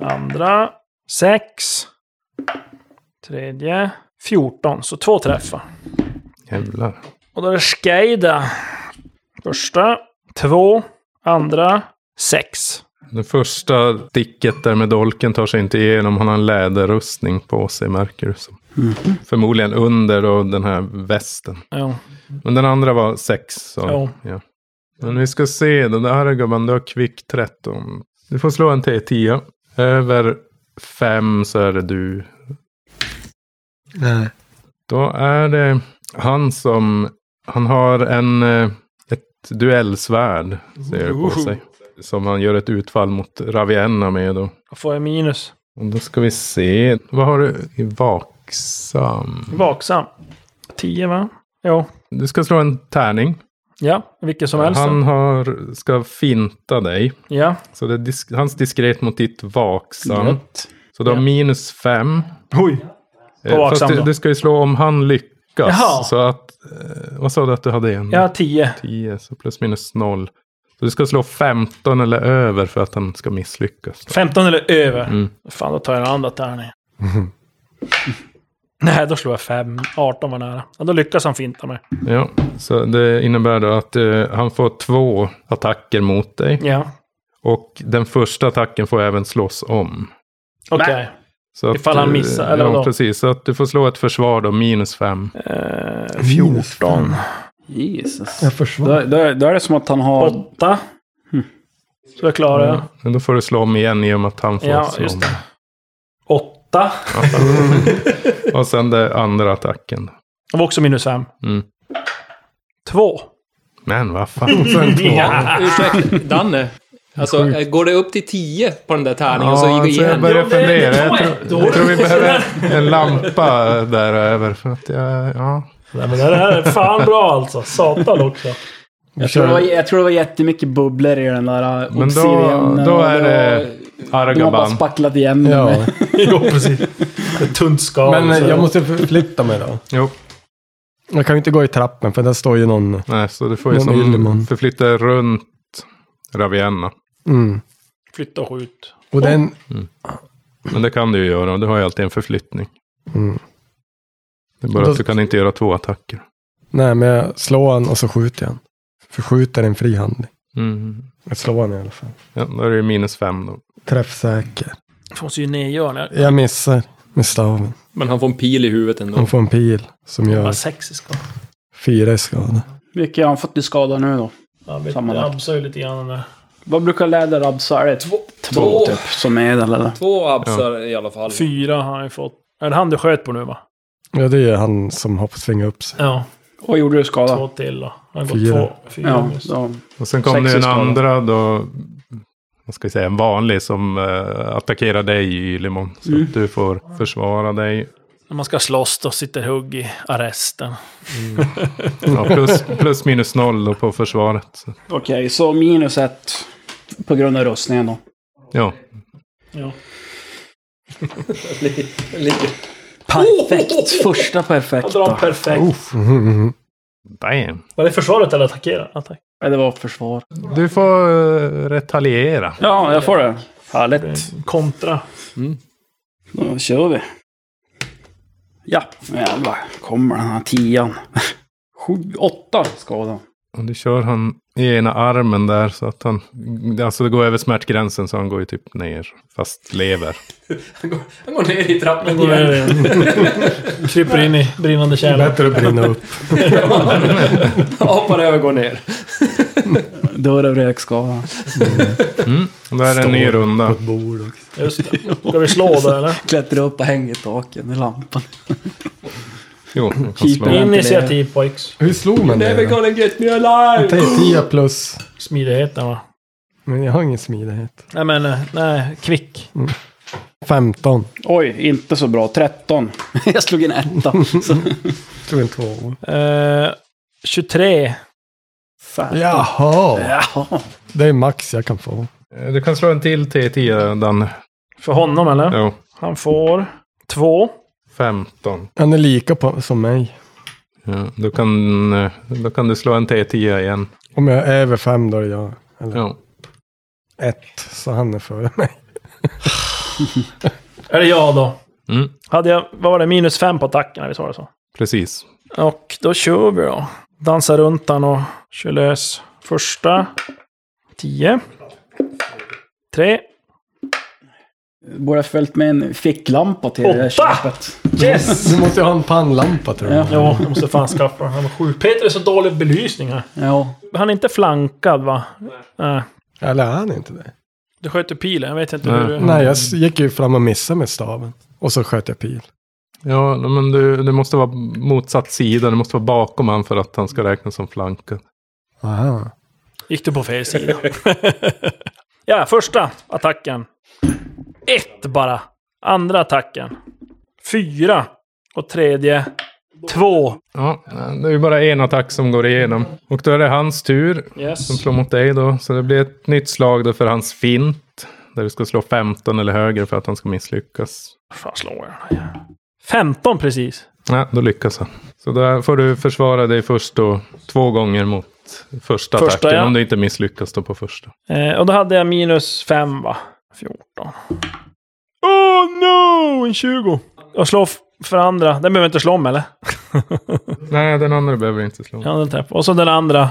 B: Andra. 6. Tredje. 14. Så två träffar.
C: Jävlar.
B: Och då är det Skeida. Första. Två. Andra. Sex.
C: Det första sticket där med dolken tar sig inte igenom. Han har en läderrustning på sig märker du. Som. Förmodligen under då den här västen.
B: Ja.
C: Men den andra var sex. Så.
B: Ja.
C: Ja. Men vi ska se. Den där gubben, du har kvick 13. Du får slå en T10. Över fem så är det du.
D: Nej.
C: Då är det han som... Han har en, eh, ett duellsvärd ser jag på sig. Som han gör ett utfall mot Ravienna med. Då.
B: Då får jag minus.
C: Och då ska vi se. Vad har du i vaksam?
B: Vaksam. 10 va? Jo.
C: Du ska slå en tärning.
B: Ja, vilken som helst.
C: Han har, ska finta dig.
B: Ja.
C: Så det är dis hans diskret mot ditt vaksam. Så du har
B: Ja.
C: minus fem.
B: Oj.
C: Eh,
B: vaksam
C: Fast du,
B: då.
C: du ska ju slå om han lyckas. lyckas.
B: Jaha.
C: Så att, eh, vad sa du att du hade en?
B: Jag har 10.
C: 10, så plus minus noll. Så du ska slå 15 eller över för att han ska misslyckas.
B: 15 eller över.
C: Mm.
B: Fan, då tar jag den andra tärningen. Nej, då slår jag 5. 18 var nära. Ja, då lyckas han finta mig.
C: Ja, så det innebär då att eh, han får två attacker mot dig.
B: Ja,
C: Och den första attacken får även slås om.
B: okej.
C: Så att,
B: Ifall han
C: eh,
B: missar, eller
C: ja,
B: vadå?
C: precis. Så att du får slå ett försvar då, minus fem.
B: Eh, 14.
E: Jesus.
D: Jag försvann.
E: Då, då, då är det som att han har...
B: 8. Så jag klarar jag.
C: Ja, Men då får du slå om igen i och med att han får
B: Ja,
C: slå
B: just
C: om.
B: det. 8.
C: Och sen den andra attacken.
B: Det var också minus 5.
C: Mm.
B: 2.
C: Men vad fan. Sen två.
F: Ursäkta, Danne. Alltså, eh, går det upp till 10 på den där tärningen och så
C: Ja,
F: gick
C: så jag
F: igen?
C: börjar fundera.
B: det
C: Jag
B: tar
C: tror,
B: ett år.
C: jag tror vi behöver en lampa där över. För att jag, ja.
B: Nej, men det här är fan bra alltså. Satan också.
E: Jag tror, det var, jag tror det var jättemycket bubblor i den där eh,
C: Men då-
E: obsidianen.
C: då
E: och
C: är det
E: var- De har bara
C: Argaban.
E: spacklat igen den.
D: Ja.
B: jo, precis. Ett tunt skal.
D: Men eh,
B: så-
D: jag måste förflytta mig då.
C: Jo,
D: Jag kan ju inte gå i trappen för där står ju någon.
C: nej, så du får ju
D: Men vill man?
C: som förflytta dig runt Ravienna.
D: Mm.
B: Flytta och skjut.
D: Och den...
C: Men det kan du ju göra. Du har ju alltid en förflyttning.
D: Mm.
C: Det är bara
D: Då-
C: att du kan inte göra två attacker.
D: Nej, men jag slår han och så skjuter jag han. För skjuter är en fri handling.
C: Mm.
D: Jag slår han i alla fall.
C: Ja, då är det ju minus fem då.
D: Träffsäker.
B: Det fanns ju nedgörningar.
D: Jag missar med staven.
F: Men han får en pil i huvudet ändå.
D: Han får en pil som
B: Bara
D: gör
B: sex i skal.
D: fyra i skada.
E: Mycket har han fått i skada nu då.
B: Jag vet,
E: Sammanlagt.
B: ramsar ju lite grann den där.
E: Vad brukar läder rabsa? Är det två, två
F: Två.
E: typ som är eller? eller?
F: Två absar i alla fall.
B: Fyra har han ju fått. Är det han du sköt på nu va?
D: Ja, det är han som har fått svinga upp sig.
B: Ja.
E: Och gjorde du skada?
B: Två till då. Han har
D: Fyra.
B: gått två. Fyra
E: ja,
B: minus.
E: då.
C: Och sen kom
E: Sex
C: det
E: i
C: en
E: skala.
C: andra då. Vad ska jag säga? En vanlig som eh, attackerar dig i Limon. Så att du får försvara dig.
B: När man ska slåss då sitter hugg i arresten.
C: Ja, plus, plus minus noll då på försvaret. Så,
E: Okej, så minus ett på grund av rustningen då.
C: ja.
B: Ja.
E: Perfekt! Första
B: Han
E: perfekta.
B: drar en perfekt.
C: Damn.
B: Var det försvaret eller attackera? Attack.
E: Ja, det var försvar.
C: Du får eh, retaliera.
E: Ja, jag får det. Härligt.
B: Kontra.
E: Då kör vi. Ja, nu jävlar. Kommer den här tian. Sju, åtta skada.
C: Och du kör han i ena armen där så att han... Alltså det går över smärtgränsen så han går ju typ ner. Fast lever.
F: Han går ner i trappan
B: Går
F: igen.
B: ner. Kryper in i brinnande kärlek.
D: Bättre att brinna upp.
F: Hoppar över och går ner.
E: Dör av räkskada.
C: Och Då är det en ny runda.
B: Just det. Ska vi slå då eller?
E: Klättrar upp och hänger i taken i lampan.
C: Jo, jag kan
E: Keep
C: slå.
E: it.
B: Initiativ pojks.
D: Hur slog man det? då?
F: gonna get me alive!
D: Det är 10 plus.
B: Smidigheten va?
D: Men jag har ingen smidighet.
B: Nej men, eh, nej, kvick.
D: 15.
E: Oj, inte så bra. 13. Jag slog en etta. Så.
D: Jag tror en tvåa.
B: Eh, 23.
E: Fan.
D: Jaha!
E: Jaha.
D: Det är max jag kan få.
C: Eh, Du kan slå en till T10, Danne.
B: För honom eller?
C: Jo,
B: Han får två.
C: 15.
D: Han är lika på, som mig.
C: Ja, då, kan, eh, då kan du slå en T10 igen.
D: Om jag är över fem då är jag
C: Ja.
D: ett. Så han är före mig.
B: Är det jag då?
C: Mm,
B: Hade jag, vad var det, minus fem på attackerna? Vi sa det så.
C: precis.
B: Och då kör vi då. Dansar runt han och kör lös. Första. Tio. Tre.
E: Borde ha följt med en ficklampa till det där
B: Åtta!
E: köpet.
B: Yes!
D: Du måste ju ha en pannlampa tror jag.
E: Ja.
B: Ja, jag måste fan skaffa den. Han var sjuk. Peter är så dålig belysning här.
E: Ja.
B: Han är inte flankad va? Nej.
D: Eller är han inte det?
B: Du sköt ju pilen, jag vet inte
C: Nej.
B: hur du...
D: Nej, jag s- gick ju fram och missade med staven. Och så sköt jag pil.
C: Ja, men du, du måste vara motsatt sida. Du måste vara bakom han för att han ska räknas som flanken.
D: Aha.
B: Gick du på fel sida? ja, första attacken. Ett bara. Andra attacken. Fyra. Och tredje. Två.
C: Ja, det är ju bara en attack som går igenom. Och då är det hans tur.
B: Yes.
C: som slår mot dig då. Så det blir ett nytt slag då för hans fint. Där du ska slå 15 eller högre för att han ska misslyckas.
B: Fan slår jag den här? 15 precis.
C: Nej, då lyckas han. Så där får du försvara dig först då, två gånger mot första,
B: Första,
C: attacken.
B: ja.
C: Om du inte misslyckas då på första.
B: Eh, och då hade jag minus 5 va? 14. Oh no! En 20. Och slå f- för andra. Den behöver jag inte slå om eller?
C: Nej, den andra behöver inte slå.
B: Ja, den träff. Och så den andra.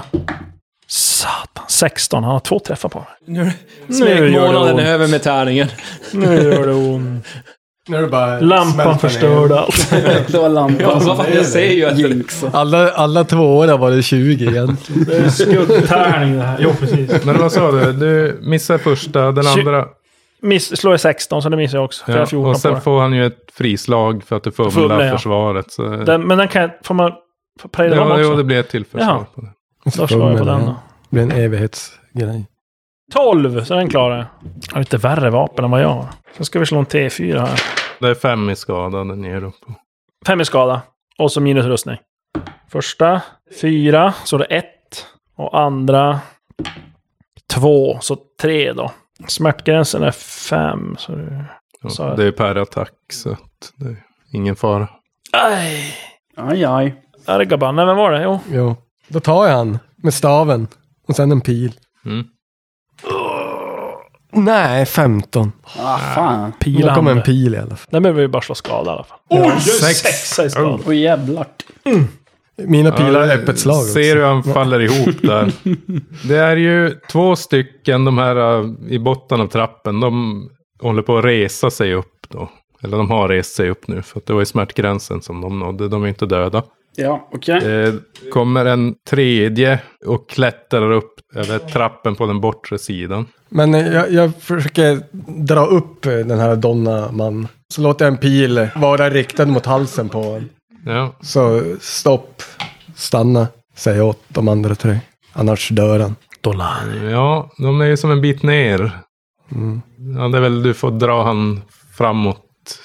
B: Satan, 16. Han har två träffar på mig.
F: Nu,
B: ont.
F: smekmånaden är över med tärningen.
B: Nu gör det ont.
D: Nu är det bara
B: Lampan
D: smälta ner.
B: förstörde allt.
E: Det var lampan
F: Ja, vad fan, jag säger ju att...
E: jinxade.
D: Alla, alla två år har varit 20 egentligen.
B: Det är skuggtärning det här. Jo, precis.
C: Men vad sa du? Du missar första, den
B: Tju-
C: andra.
B: Miss, slår jag 16 så det missar jag också. För jag har
C: Ja,
B: 14
C: och
B: på
C: sen
B: det.
C: får han ju ett frislag för att du fumlar,
B: Fumlar, ja.
C: försvaret. Så,
B: den, men den kan jag... Får man får pröjda dem
C: ja,
B: också?
C: jo, det blir ett till förslag.
B: Jaha.
C: På det.
B: Då slår jag på den då.
D: Det blir en evighetsgrej.
B: 12, så den klarar jag. Har lite värre vapen än vad jag har. Så ska vi slå en T4 här.
C: det är fem i skada den ger upp.
B: Fem i skada. Och så minus rustning. Första, fyra, så det är ett. Och andra, två, så tre då. Smärtgränsen är fem, så det... Så-
C: Ja, det är per attack, så att det är ingen fara.
B: Aj!
E: Aj, aj.
B: Ergaban, nej vem var det? Jo.
D: Jo. Då tar jag han med staven. Och sen en pil.
C: Mm.
D: Nej, 15.
E: Ah, fan.
D: Då
B: Pilan.
D: kommer en
B: Den
D: pil i alla fall.
B: behöver vi bara slå skada i alla fall.
D: Ja.
B: Sexa i skada.
E: Och jävlar.
D: Mina pilar är öppet slag.
C: Ser
D: också.
C: du hur han faller ihop där? Det är ju två stycken, de här äh, i botten av trappen, de håller på att resa sig upp då. Eller de har rest sig upp nu, för att det var ju smärtgränsen som de nådde. De är ju inte döda.
E: Ja, okej.
C: Det Eh, kommer en tredje och klättrar upp över trappen på den bortre sidan.
D: Men eh, jag, jag försöker dra upp eh, den här donna man. Så låter jag en pil vara riktad mot halsen på honom.
C: Ja,
D: Så stopp, stanna, säger jag åt de andra tre. Annars dör han.
B: Dollar.
C: ja de är ju som en bit ner. Ja, det är väl du får dra han framåt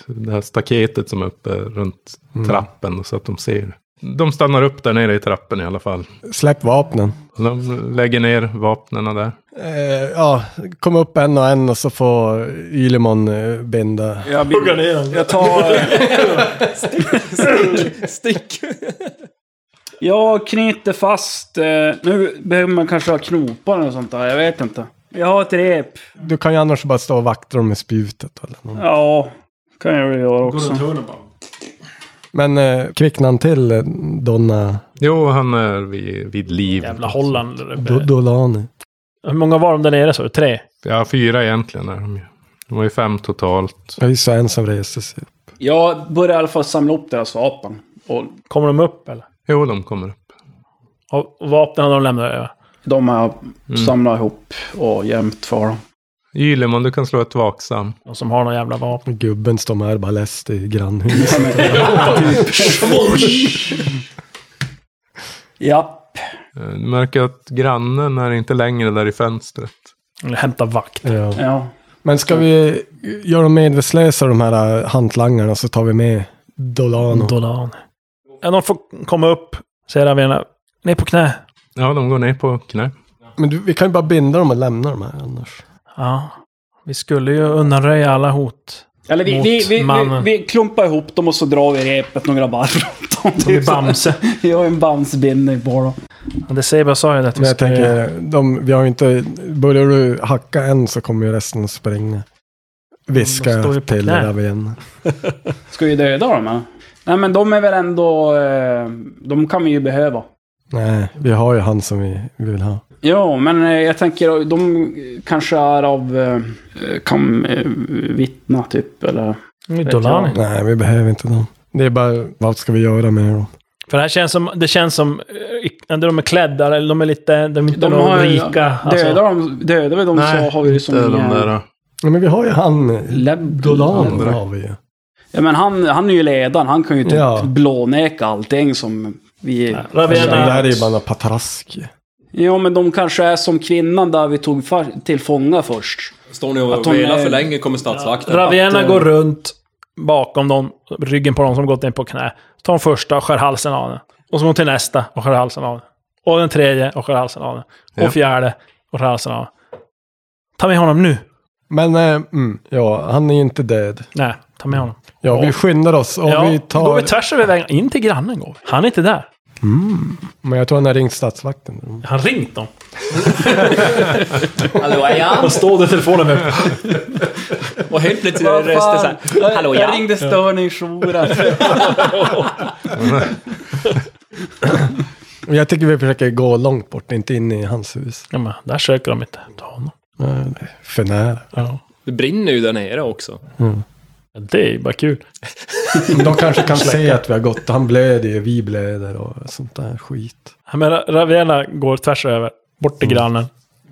C: det här staketet som är uppe runt trappen så att de ser. De stannar upp där nere i trappen i alla fall.
D: Släpp vapnen.
C: De lägger ner vapnena där.
D: Eh, ja, kom upp en och en och så får Ylemon eh, binda.
E: Jag, blir,
B: ner den.
E: jag tar...
F: Stick!
E: Jag knyter fast... Eh, nu behöver man kanske ha knopar eller sånt där. Jag vet inte. Jag har ett rep.
D: Du kan ju annars bara stå och vakta dem med spjutet. Eller någon.
E: Ja, kan jag väl göra också.
D: Men eh, kvicknar han till eh, Donna
C: Jo, han är vid, vid liv.
B: Jävla Holland.
D: Do- Dolani?
B: Hur många var de där nere sa du? Tre?
C: Ja, fyra egentligen är de ju. De var ju fem totalt.
D: Jag är ju så en som reser sig.
E: Jag börjar i alla fall samla upp deras vapen. Och
B: Kommer de upp eller?
C: Jo, de kommer upp.
B: Och och vapnen har de lämnat över?
E: de har
C: Mm.
E: jag samlat ihop och jämt för dem.
C: Ylemon, du kan slå ett vaksam.
B: De som har någon jävla vapen.
D: Gubben står med arbalest i grannhuset.
E: Japp.
C: Eh, Du märker att grannen är inte längre där i fönstret.
B: Eller hämta vakt.
D: ja.
E: Ja.
D: Men ska vi göra dem medvetslösa de här eh, hantlangarna så tar vi med Dolano.
B: Dolan. Ja, de får komma upp, säger Ravena. Ner på knä.
C: Ja, de går ner på knä.
D: Men du, vi kan ju bara binda dem och lämna dem här annars.
B: Ja. Vi skulle ju undanröja alla hot.
E: Eller vi,
B: Mot
E: vi, vi, vi,
B: mannen.
E: vi klumpar ihop dem och så drar vi repet några varv runt dem.
B: Som i Bamse.
E: Jag har en bamsbindning på dem.
B: Ja, det säger bara sa ju det. att vi
D: Men jag
B: skulle-
D: tänker, de, vi har ju inte... Börjar du hacka en så kommer ju resten springa. Viska
B: De står ju
D: jag
B: på
D: till
B: knä.
D: Raven.
E: Ska vi döda dem eller? Nej men de är väl ändå... Eh, de kan vi ju behöva.
D: Nej, vi har ju han som vi, vi vill ha.
E: Ja, men eh, jag tänker de kanske är av... Eh, kan eh, vittna typ eller...
B: Mm, Dolani.
D: Nej, vi behöver inte dem. Det är bara, vad ska vi göra med dem?
B: För det här känns som, det känns som, eh, när de är klädda, eller de är lite, de är inte
E: De
B: de
E: har-
B: rika. alltså.
D: Alltså-
E: Döda, de, dödar vi dem så har vi ju som...
B: Mm,
C: inte de
E: eh,
C: där.
D: Ja, men vi har ju han...
E: Leb-
D: Dolano
C: Andra.
D: har vi ju.
E: Ja men han, han är ju ledaren. Han kan ju typ
D: Ja.
E: blåneka allting som vi...
D: Den där är
B: Ravena.
D: ju bara patrask.
E: Ja men de kanske är som kvinnan där vi tog fa- till fånga först.
F: Står ni
E: Att
F: och
E: de
F: velar
E: är-
F: för länge kommer statsvakten.
B: Ravena
E: eh,
B: går runt bakom dem, ryggen på dem som gått ner på knä. Tar den första och skär halsen av den. Och så går hon till nästa och skär halsen av den. Och den tredje och skär halsen av den.
C: Ja.
B: Och fjärde och skär halsen av den. Ta med honom nu!
D: Men eh, mm, ja, han är ju inte död.
B: Nej, ta med honom.
D: Ja, vi skyndar oss och
B: ja,
D: vi
B: Går vi
D: tar...
B: tvärs över vägen. In till grannen går vi. Han är inte där.
D: Men jag tror han har ringt statsvakten.
B: Han ringt dem.
I: Hallå, är jag?
B: Och står det i telefonen med.
I: Och helt plötsligt är det röster såhär. Hallå, jag ringde störningsjouren.
D: Och Jag tycker vi försöker gå långt bort, inte in i hans hus.
B: Ja, men där söker de inte. Ta honom.
D: Nej, det är För nära.
B: Ja.
F: Det brinner ju där nere också.
B: Det är ju bara kul.
D: Men De kanske kan se att vi har gått. Han blöder ju, vi blöder och sånt där skit.
B: Ja, Men Ra- Ravena går tvärs över. Bort till grannen.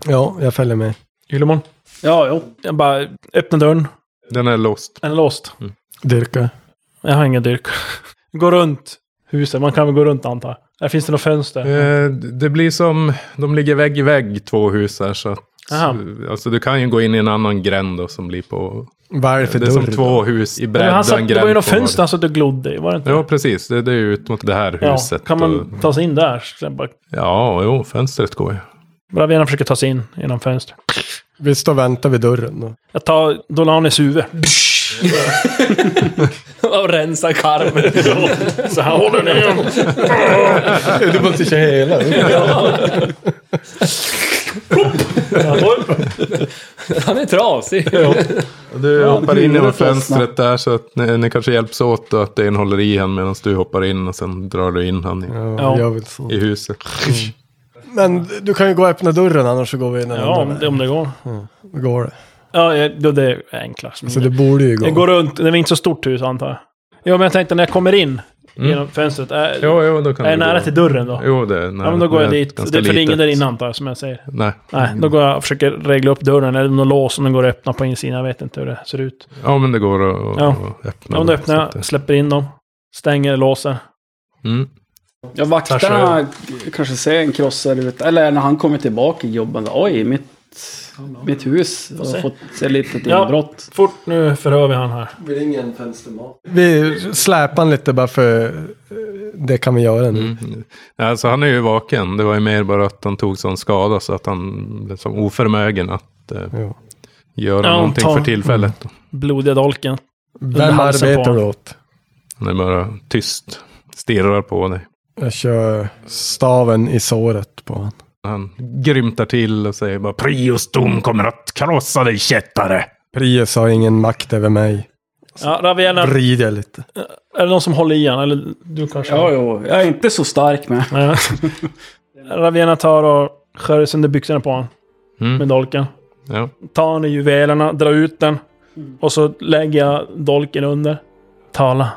D: Ja, jag följer med.
B: Ylemon.
E: Ja, jo.
B: Jag bara öppnar dörren.
C: Den är låst.
B: Den är låst.
D: Dyrka.
B: Jag har ingen dyrk. Gå runt huset. Man kan väl gå runt antar jag. Där finns det några fönster.
C: Eh, det blir som, de ligger vägg i vägg två hus här. Så att,
B: Aha.
C: alltså, du kan ju gå in i en annan gränd då, som blir på...
D: Varför
C: det är som
D: dörr?
C: två hus i
B: Men
C: bredd.
B: han
C: och en
B: satt, det
C: gränd
B: var ju något
C: på var.
B: fönster han satt och glodde i. Var det inte?
C: Ja, precis. Det, det är ju ut mot det här
B: Ja,
C: huset.
B: Kan
C: och,
B: man ta sig in där? Så jag bara,
C: ja jo, fönstret går ju.
B: Ravena försöker ta sig in genom fönstret.
D: Vi står och väntar vid dörren. då.
B: Jag tar Dolanis huvud.
F: Och rensa karmen.
B: Så han håller ner.
D: Du måste köra hela.
F: Han är trasig.
C: Du hoppar in
E: det gjorde
C: genom
E: det fastna.
C: fönstret där så att ni, ni kanske hjälps åt och att en håller i han medan du hoppar in och sen drar du in han i,
D: Ja,
B: Ja. Mm.
D: jag vill så.
C: i huset.
D: Men du kan ju gå och öppna dörren annars så går vi in i den
B: Ja,
D: andra
B: om det,
D: vägen.
B: om det går.
D: Då går det.
B: Ja, jag- då det är enklast.
D: Så det borde ju gå.
B: Jag går runt. Det är väl inte så stort hus antar jag. Ja, men jag tänkte när jag kommer in genom fönstret. Är,
C: Mm. Jo, jo, då kan
B: är
C: du
B: jag nära
C: gå.
B: till dörren då?
C: Jo, det är nära.
B: Ja, men då går jag
C: Det är
B: dit.
C: ganska
B: Det är för det är ingen
C: litet. Mm.
B: där inne antar jag, som jag säger.
C: Nej.
B: Nej, då går jag och försöker regla upp dörren. Eller om någon lås om den går att öppna på insidan. Jag vet inte hur det ser ut.
C: Ja, men det går att att
B: Ja.
C: öppna.
B: Ja, men då
C: den,
B: öppnar
C: så att det-
B: jag, släpper in dem. Stänger, låser.
C: Mm.
E: Ja, vakterna kanske ser en krossare ut. Eller när han kommer tillbaka i jobben. Oj, mitt, mitt hus har
B: se.
E: fått ett litet
B: Ja.
E: inbrott.
B: Fort nu förhör vi han här.
D: Vi ringer en fönstermat. Vi släpar han lite bara för eh, det kan vi göra nu.
C: Alltså, han är ju vaken. Det var ju mer bara att han tog sån skada så att han blev som oförmögen att eh,
D: Ja.
C: göra
B: Ja,
C: någonting
B: ta-
C: för tillfället.
B: Blodiga dolken. Under
D: Vem
B: halsen på
D: arbetar du
B: honom.
D: åt?
C: Han är bara tyst, stirrar på dig.
D: Jag kör staven i såret på honom.
C: Han grymtar till och säger bara
J: Prius dom kommer att krossa dig kättare.
D: Prius har ingen makt över mig.
B: Ja, Ravena,
D: Vrider jag lite.
B: är det någon som håller i han? Eller du kanske?
E: Ja, jo. Jag är inte så stark med.
B: Nej. Ravena tar och skär sönder byxorna på honom
C: Mm.
B: med dolken.
C: Ja.
B: Tar han i juvelerna, drar ut den. Och så lägger jag dolken under. Tala.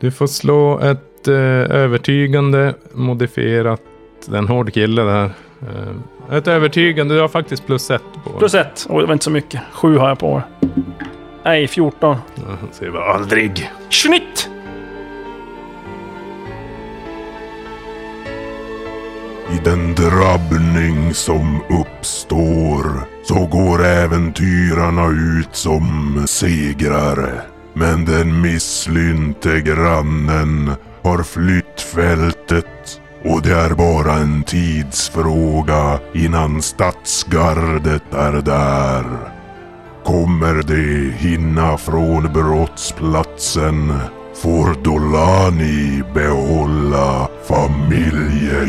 C: Du får slå ett eh, övertygande modifierat. Det är en hård kille det här. Eh, ett övertygande. Du har faktiskt plus ett på.
B: Plus ett. Oj, det var inte så mycket. Sju har jag på. Nej, 14.
C: Ja, han säger bara,
J: Aldrig.
B: Schnitt!
A: I den drabbning som uppstår så går äventyrarna ut som segrare. Men den misslynte grannen har flytt fältet och det är bara en tidsfråga innan stadsgardet är där. Kommer de hinna från brottsplatsen får Dolani behålla familjejuvelerna.